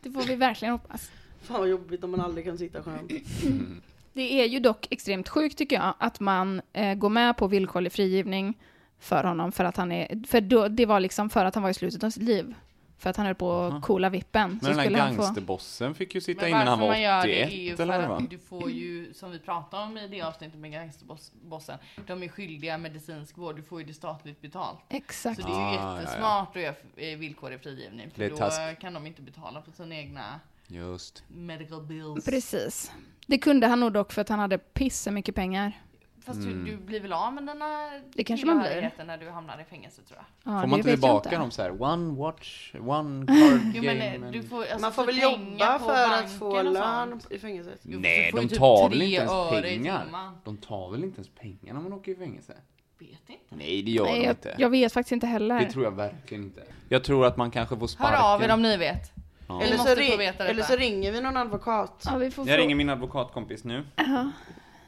Speaker 1: Det får vi verkligen hoppas.
Speaker 2: Fan vad jobbigt om man aldrig kan sitta skönt.
Speaker 3: Mm.
Speaker 1: Det är ju dock extremt sjukt tycker jag att man eh, går med på villkorlig frigivning för honom för att han är, för då, det var liksom för att han var i slutet av sitt liv. För att han höll på att coola vippen.
Speaker 4: Men den här
Speaker 1: skulle han få-
Speaker 4: gangsterbossen fick ju sitta innan han var 81 eller vad det var.
Speaker 3: att du får ju, som vi pratade om i det avsnittet med gangsterbossen, de är skyldiga medicinsk vård, du får ju det statligt betalt.
Speaker 1: Exakt.
Speaker 3: Så det är ju
Speaker 4: Ah, ja, ja.
Speaker 3: jättesmart att göra eh, villkorlig frigivning,
Speaker 4: Det är
Speaker 3: för då
Speaker 4: taskigt.
Speaker 3: kan de inte betala för sina egna
Speaker 4: Just.
Speaker 3: medical bills.
Speaker 1: Precis. Det kunde han nog dock för att han hade pisse mycket pengar.
Speaker 3: Fast
Speaker 4: Mm.
Speaker 3: du, du blir väl av med denna
Speaker 1: Det kanske man blir.
Speaker 3: tillhörigheten när du hamnar i fängelse tror jag.
Speaker 1: Ja,
Speaker 4: Får
Speaker 1: det
Speaker 4: man inte
Speaker 1: vet jag
Speaker 4: tillbaka dem så här one watch, one card
Speaker 3: Jo, men,
Speaker 4: game?
Speaker 3: eh,
Speaker 4: and-
Speaker 3: du får, alltså,
Speaker 2: Man får väl
Speaker 3: pengar
Speaker 2: jobba
Speaker 3: på
Speaker 2: för att
Speaker 3: banken
Speaker 2: få
Speaker 3: och sånt.
Speaker 2: lön i fängelset.
Speaker 3: Jo, men
Speaker 4: Nej,
Speaker 3: du får
Speaker 4: de
Speaker 3: ju typ
Speaker 4: tar väl
Speaker 3: tre
Speaker 4: inte ens
Speaker 3: öre i
Speaker 4: pengar?
Speaker 3: timman.
Speaker 4: De tar väl inte ens pengar när man åker i fängelse?
Speaker 3: Vet inte.
Speaker 4: Nej, det gör
Speaker 1: Nej,
Speaker 4: de
Speaker 1: jag,
Speaker 4: inte.
Speaker 1: jag vet faktiskt inte heller.
Speaker 4: Det tror jag verkligen inte. Jag tror att man kanske får sparken.
Speaker 3: Hör av er om ni vet.
Speaker 4: Ja.
Speaker 3: Vi
Speaker 2: Eller så,
Speaker 3: måste få
Speaker 2: ri-
Speaker 3: veta
Speaker 2: eller
Speaker 3: detta.
Speaker 2: så ringer vi någon advokat.
Speaker 1: ja, vi får,
Speaker 4: Jag
Speaker 1: frå-
Speaker 4: ringer min advokatkompis nu. Jag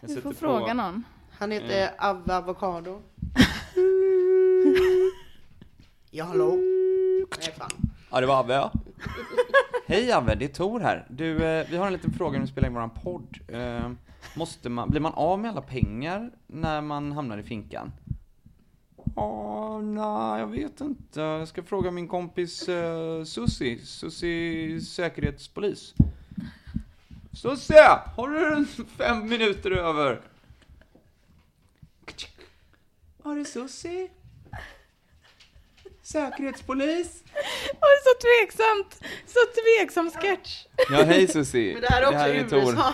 Speaker 1: vi
Speaker 4: sätter
Speaker 1: får
Speaker 4: på-
Speaker 1: fråga någon.
Speaker 2: Han heter Ava Avocado. ja hallå? Nej fan.
Speaker 4: Ja, det var Abbe ja. Hej Abbe, det är Tor här. Du, eh, vi har en liten fråga när vi spelar in våran podd. Eh, Måste man, blir man av med alla pengar när man hamnar i finkan? Ja, nej, jag vet inte. Jag ska fråga min kompis uh, Susi. Susi säkerhetspolis. Susie! Har du en fem minuter över? Har du Susi? Säkerhetspolis?
Speaker 1: Oj, så tveksamt! Så tveksam sketch.
Speaker 4: Ja, hej Susie.
Speaker 2: Men det här är också USA.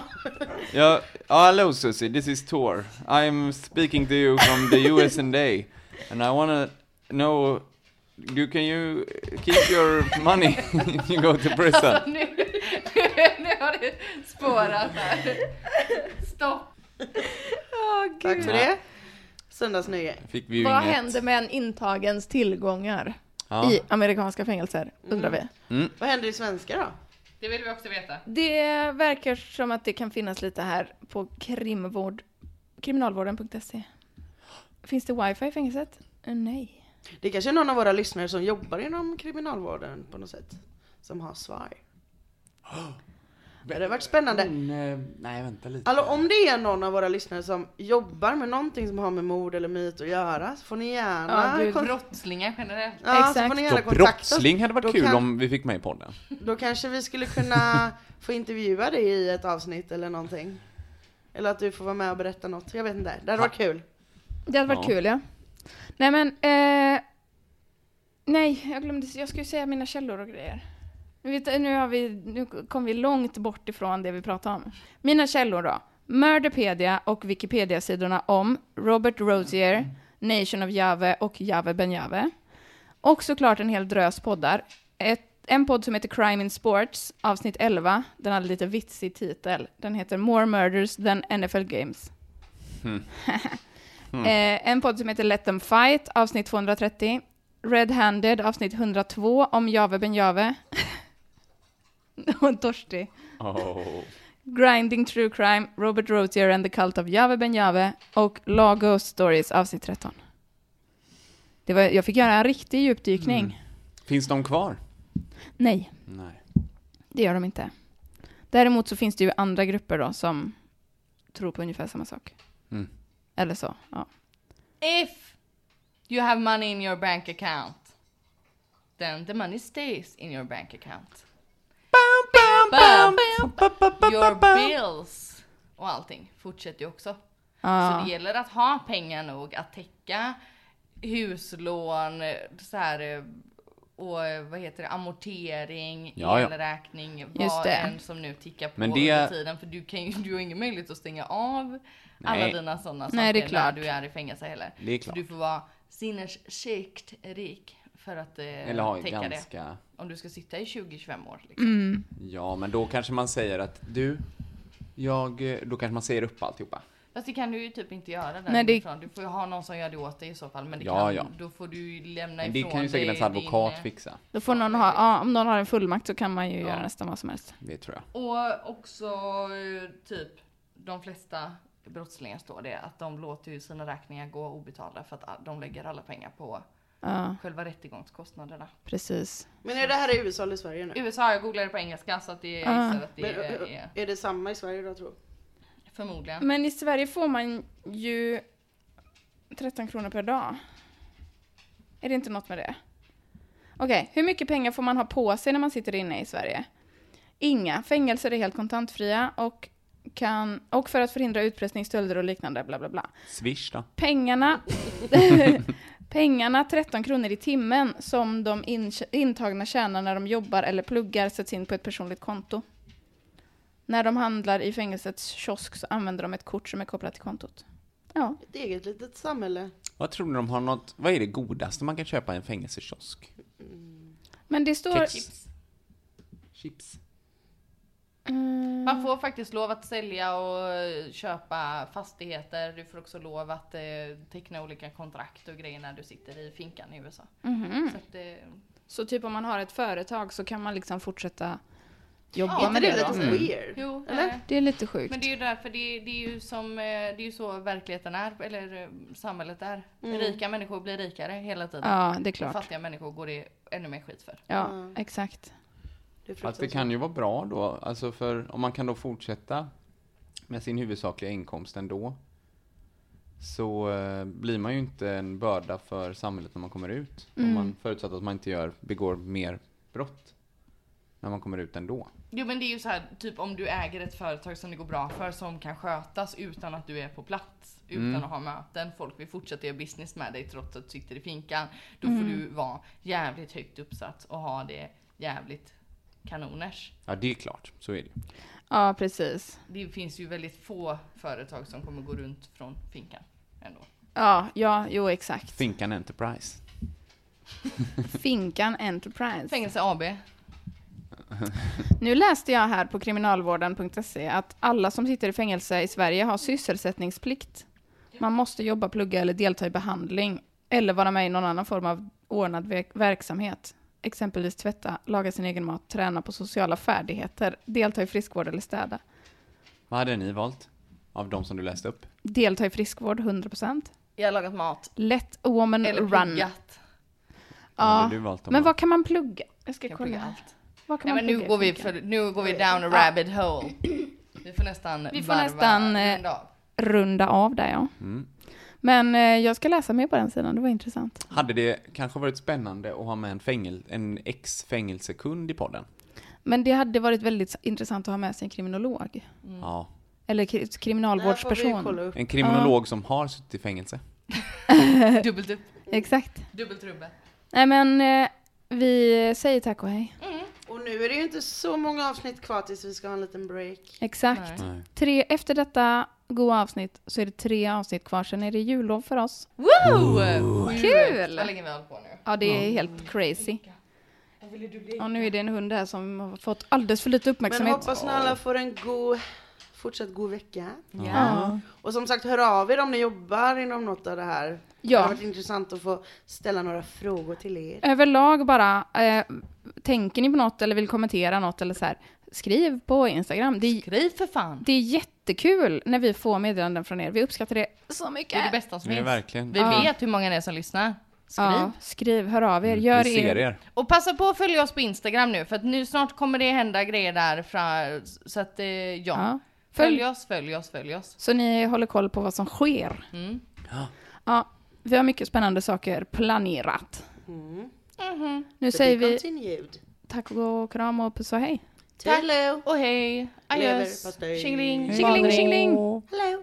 Speaker 4: Ja, ja, hello Susie, this is Tor. I'm speaking to you from the US and A. And I wanna know, do can you keep your money if you go to prison?
Speaker 3: Nu, nu har det spårat här. Stopp.
Speaker 5: Åh, gud.
Speaker 2: Tack för det. Söndagsnöje.
Speaker 4: Fick vi ju
Speaker 5: Vad
Speaker 4: inget.
Speaker 5: händer med en intagens tillgångar
Speaker 4: Ja.
Speaker 5: i amerikanska fängelser, undrar vi.
Speaker 2: Vad händer i svenska då?
Speaker 3: Det vill vi också veta.
Speaker 1: Det verkar som att det kan finnas lite här på krimvård, kriminalvården.se. Finns det wifi i fängelset? Eh, Nej.
Speaker 2: Det kanske är någon av våra lyssnare som jobbar inom kriminalvården på något sätt. Som har svar. Det hade varit spännande.
Speaker 4: Men, eh, nej, vänta lite.
Speaker 2: Alltså om det är någon av våra lyssnare som jobbar med någonting som har med mord eller myt att göra så får ni gärna,
Speaker 1: Ja, gud.
Speaker 2: kon-
Speaker 3: Brottslingar generellt.
Speaker 2: ja, så får
Speaker 1: Exakt.
Speaker 2: ni gärna
Speaker 4: Då
Speaker 2: kontakta oss.
Speaker 4: brottsling hade varit
Speaker 2: Då
Speaker 4: kul
Speaker 2: kan-
Speaker 4: om vi fick med i podden.
Speaker 2: Då kanske vi skulle kunna få intervjua dig i ett avsnitt eller någonting. Eller att du får vara med och berätta något. Jag vet inte. Det hade varit kul.
Speaker 1: Det hade varit
Speaker 4: Ja.
Speaker 1: kul, ja. Nej, men... Eh, nej, jag glömde... Jag skulle säga mina källor och grejer. Vet, du, nu, har vi, nu kom vi långt bort ifrån det vi pratade om. Mina källor då. Murderpedia och Wikipedia-sidorna om Robert Rosier, Nation of Jave och Jave Benjave. Och såklart en hel drös poddar. Ett, en podd som heter Crime in Sports, avsnitt 11. Den hade lite vitsig titel. Den heter More Murders than NFL Games. Eh, en podd som heter Let them fight, avsnitt 230. Red-handed, avsnitt 102, om Jave Benjave. Och törstig.
Speaker 4: Oh.
Speaker 1: Grinding True Crime, Robert Rosier and the Cult of Jave Benjave och Law Ghost Stories, avsnitt 13. Det var, jag fick göra en riktig djupdykning.
Speaker 4: Finns de kvar?
Speaker 1: Nej.
Speaker 4: Nej.
Speaker 1: Det gör de inte. Däremot så finns det ju andra grupper då som tror på ungefär samma sak.
Speaker 4: Mm.
Speaker 1: Eller så, ja.
Speaker 3: If you have money in your bank account then the money stays in your bank account. But your bills och allting fortsätter ju också. Så det gäller att ha pengar nog att täcka huslån, eh, så här, eh, och eh, vad heter det, amortering,
Speaker 4: Ja, ja.
Speaker 3: elräkning,
Speaker 1: Just
Speaker 3: vad
Speaker 1: det.
Speaker 3: än som nu tickar på
Speaker 4: Men det-
Speaker 3: under tiden. För du, kan ju, du har ingen möjlighet att stänga av alla
Speaker 4: Nej.
Speaker 3: dina sådana saker
Speaker 1: Nej, det är
Speaker 3: när
Speaker 1: klart.
Speaker 3: du är i fängelse heller.
Speaker 4: Det är klart.
Speaker 3: Så du får vara sinnessjukt rik för att eh,
Speaker 4: Eller har
Speaker 3: täcka det.
Speaker 4: ganska...
Speaker 3: Om du ska sitta i 20-25 år. Liksom.
Speaker 1: Mm.
Speaker 4: Ja, men då kanske man säger att du, jag, eh, då kanske man säger upp alltihopa.
Speaker 3: Fast det kan du ju typ inte göra där
Speaker 1: Nej, det-
Speaker 3: inifrån. Du får ju ha någon som gör det åt dig i så fall. Men det
Speaker 4: Ja,
Speaker 3: kan,
Speaker 4: ja.
Speaker 3: då får du ju lämna
Speaker 4: Men
Speaker 3: ifrån
Speaker 4: det kan ju säkert ens advokat
Speaker 3: din, eh,
Speaker 4: fixa.
Speaker 1: Då får någon ha, ja, om någon har en fullmakt så kan man ju göra nästan vad som helst.
Speaker 4: Det tror jag.
Speaker 3: Och också eh, typ de flesta brottslingar står det att de låter ju sina räkningar gå obetalda för att ah, de lägger alla pengar på
Speaker 1: Ja,
Speaker 3: själva rättegångskostnaderna.
Speaker 1: precis.
Speaker 2: Men är det här i USA eller Sverige nu?
Speaker 3: USA, jag googlade på engelska så att det jag gissar att det
Speaker 2: Men,
Speaker 3: är,
Speaker 2: ö- ö- är det samma i Sverige då tror
Speaker 3: förmodligen.
Speaker 1: Men i Sverige får man ju 13 kronor per dag. Är det inte något med det? Okej, hur mycket pengar får man ha på sig när man sitter inne i Sverige? Inga. Fängelser är helt kontantfria och, kan, och för att förhindra utpressning, stölder och liknande, bla bla bla.
Speaker 4: Swish då?
Speaker 1: Pengarna, pengarna 13 kronor i timmen som de in, intagna tjänar när de jobbar eller pluggar sätts in på ett personligt konto. När de handlar i fängelsets kiosk så använder de ett kort som är kopplat till kontot. Ja.
Speaker 2: Ett eget litet samhälle.
Speaker 4: Vad tror ni de har något, vad är det godaste man kan köpa i en fängelsekiosk?
Speaker 1: Men det står...
Speaker 4: Chips. Chips.
Speaker 1: Mm,
Speaker 3: Man får faktiskt lov att sälja och eh, köpa fastigheter. Du får också lov att eh, teckna olika kontrakt och grejer när du sitter i finkan i USA.
Speaker 1: Mhm. Mm.
Speaker 3: Så att, eh,
Speaker 1: så typ om man har ett företag så kan man liksom fortsätta jobba
Speaker 3: Ja,
Speaker 1: med
Speaker 2: det är
Speaker 1: det då?
Speaker 2: lite weird.
Speaker 3: jo,
Speaker 2: Eller?
Speaker 3: eh,
Speaker 1: Det är lite sjukt.
Speaker 3: Men det är ju därför det, det är ju som, eh, det är ju så verkligheten är, eller eh, samhället är. Rika människor blir rikare hela tiden.
Speaker 1: Mm. Ja, det är
Speaker 3: och
Speaker 1: klart.
Speaker 3: fattiga människor går det ännu mer skit för.
Speaker 1: Ja, exakt.
Speaker 2: Det är
Speaker 4: Att Alltså, det
Speaker 2: fruktansvärt.
Speaker 4: kan ju vara bra då, alltså för om man kan då fortsätta med sin huvudsakliga inkomst ändå så eh, blir man ju inte en börda för samhället när man kommer ut.
Speaker 1: Mm.
Speaker 4: Om man förutsatt att man inte gör, begår mer brott när man kommer ut ändå.
Speaker 3: Jo men det är ju så här, typ om du äger ett företag som det går bra för som kan skötas utan att du är på plats. Utan att ha möten, folk vill fortsätta göra business med dig trots att du sitter i finkan. Då får du vara jävligt högt uppsatt och ha det jävligt kanoners.
Speaker 4: Ja, det är klart. Så är det ju.
Speaker 1: Ja, precis.
Speaker 3: Det finns ju väldigt få företag som kommer gå runt från finkan ändå.
Speaker 1: Ja, ja, jo exakt.
Speaker 4: Finkan Enterprise.
Speaker 1: Finkan Enterprise.
Speaker 3: Fängelse AB.
Speaker 1: Nu läste jag här på kriminalvården.se att alla som sitter i fängelse i Sverige har sysselsättningsplikt. Man måste jobba, plugga eller delta i behandling eller vara med i någon annan form av ordnad ve- verksamhet. Exempelvis tvätta, laga sin egen mat, träna på sociala färdigheter, delta i friskvård eller städa.
Speaker 4: Vad hade ni valt av de som du läste upp?
Speaker 1: Delta i friskvård 100%.
Speaker 3: Jag har lagat mat.
Speaker 1: Let a woman
Speaker 3: Eller
Speaker 1: run.
Speaker 3: pluggat.
Speaker 1: Ja,
Speaker 4: Vad hade du valt av
Speaker 1: Men
Speaker 4: dem?
Speaker 1: vad kan man plugga? Jag ska
Speaker 3: Jag
Speaker 1: kolla.
Speaker 3: pluggar
Speaker 1: här.
Speaker 3: allt.
Speaker 1: Vad kan
Speaker 3: Nej,
Speaker 1: man
Speaker 3: men nu
Speaker 1: plugga i
Speaker 3: går, vi
Speaker 1: finkan?
Speaker 3: för, nu går vi down a rabbit hole. Ah. Vi får nästan
Speaker 1: Vi får
Speaker 3: varva
Speaker 1: nästan, eh,
Speaker 3: en dag.
Speaker 1: runda av där ja. Men eh, jag ska läsa mer på den sidan, det var intressant.
Speaker 4: Hade det kanske varit spännande att ha med en, fängel, en ex-fängelsekund i podden?
Speaker 1: Men det hade varit väldigt intressant att ha med sig en kriminolog.
Speaker 4: Ja.
Speaker 1: Eller kri-
Speaker 2: Det här får vi
Speaker 1: kriminalvårdsperson.
Speaker 2: kolla upp.
Speaker 4: En kriminolog som har suttit i fängelse.
Speaker 3: Dubbelt upp,
Speaker 1: Exakt.
Speaker 3: dubbelt rubbe.
Speaker 1: Nej men eh, vi säger tack och hej.
Speaker 2: Och nu är det ju inte så många avsnitt kvar tills vi ska ha en liten break.
Speaker 1: Exakt.
Speaker 3: Nej.
Speaker 4: Nej.
Speaker 1: Tre, efter detta goa avsnitt så är det tre avsnitt kvar, sen är det jullov för oss.
Speaker 3: Woo!
Speaker 1: Kul!
Speaker 3: Vad länge vi har hållit på nu.
Speaker 1: Ja det är helt crazy. Och nu är det en hund här som har fått alldeles för lite
Speaker 2: Men
Speaker 1: uppmärksamhet.
Speaker 2: hoppas ni alla får en god, fortsatt god vecka.
Speaker 1: Ja.
Speaker 2: Och som sagt, hör av er om ni jobbar inom något av det här. Det
Speaker 1: Ja.
Speaker 2: har varit intressant att få ställa några frågor till er.
Speaker 1: överlag bara, eh, tänker ni på något eller vill kommentera något eller så här, skriv på Instagram. Det,
Speaker 3: Skriv för fan.
Speaker 1: det är jättekul när vi får meddelanden från er. Vi uppskattar det så mycket.
Speaker 3: Det är det bästa som
Speaker 4: Det är
Speaker 3: finns.
Speaker 4: verkligen.
Speaker 3: Vi vet hur många det är som lyssnar. Skriv.
Speaker 1: Ja, skriv, hör av er, gör
Speaker 4: Vi ser
Speaker 1: er.
Speaker 4: er.
Speaker 3: Och passa på att följa oss på Instagram nu för att nu snart kommer det hända grejer där. Fra, så att eh, ja.
Speaker 1: Ja.
Speaker 3: Följ.
Speaker 1: Följ-
Speaker 3: oss, följ oss, följ oss.
Speaker 1: Så ni håller koll på vad som sker.
Speaker 3: Mm.
Speaker 1: Ja, vi har mycket spännande saker planerat.
Speaker 3: Mhm.
Speaker 1: Nu säger vi
Speaker 2: Continued.
Speaker 1: tack och kram och puss och hej.
Speaker 2: Hello.
Speaker 3: Och hej! Adjöss!
Speaker 2: Leverpastej.
Speaker 3: Tjingeling!
Speaker 1: Tjingeling,
Speaker 3: badring.
Speaker 1: tjingeling!
Speaker 2: Hello.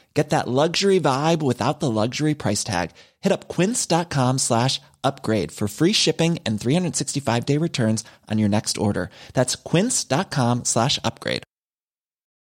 Speaker 6: Get that luxury vibe without the luxury price tag. Hit up quince.com slash upgrade for free shipping and 365 day returns on your next order. That's quince.com slash upgrade.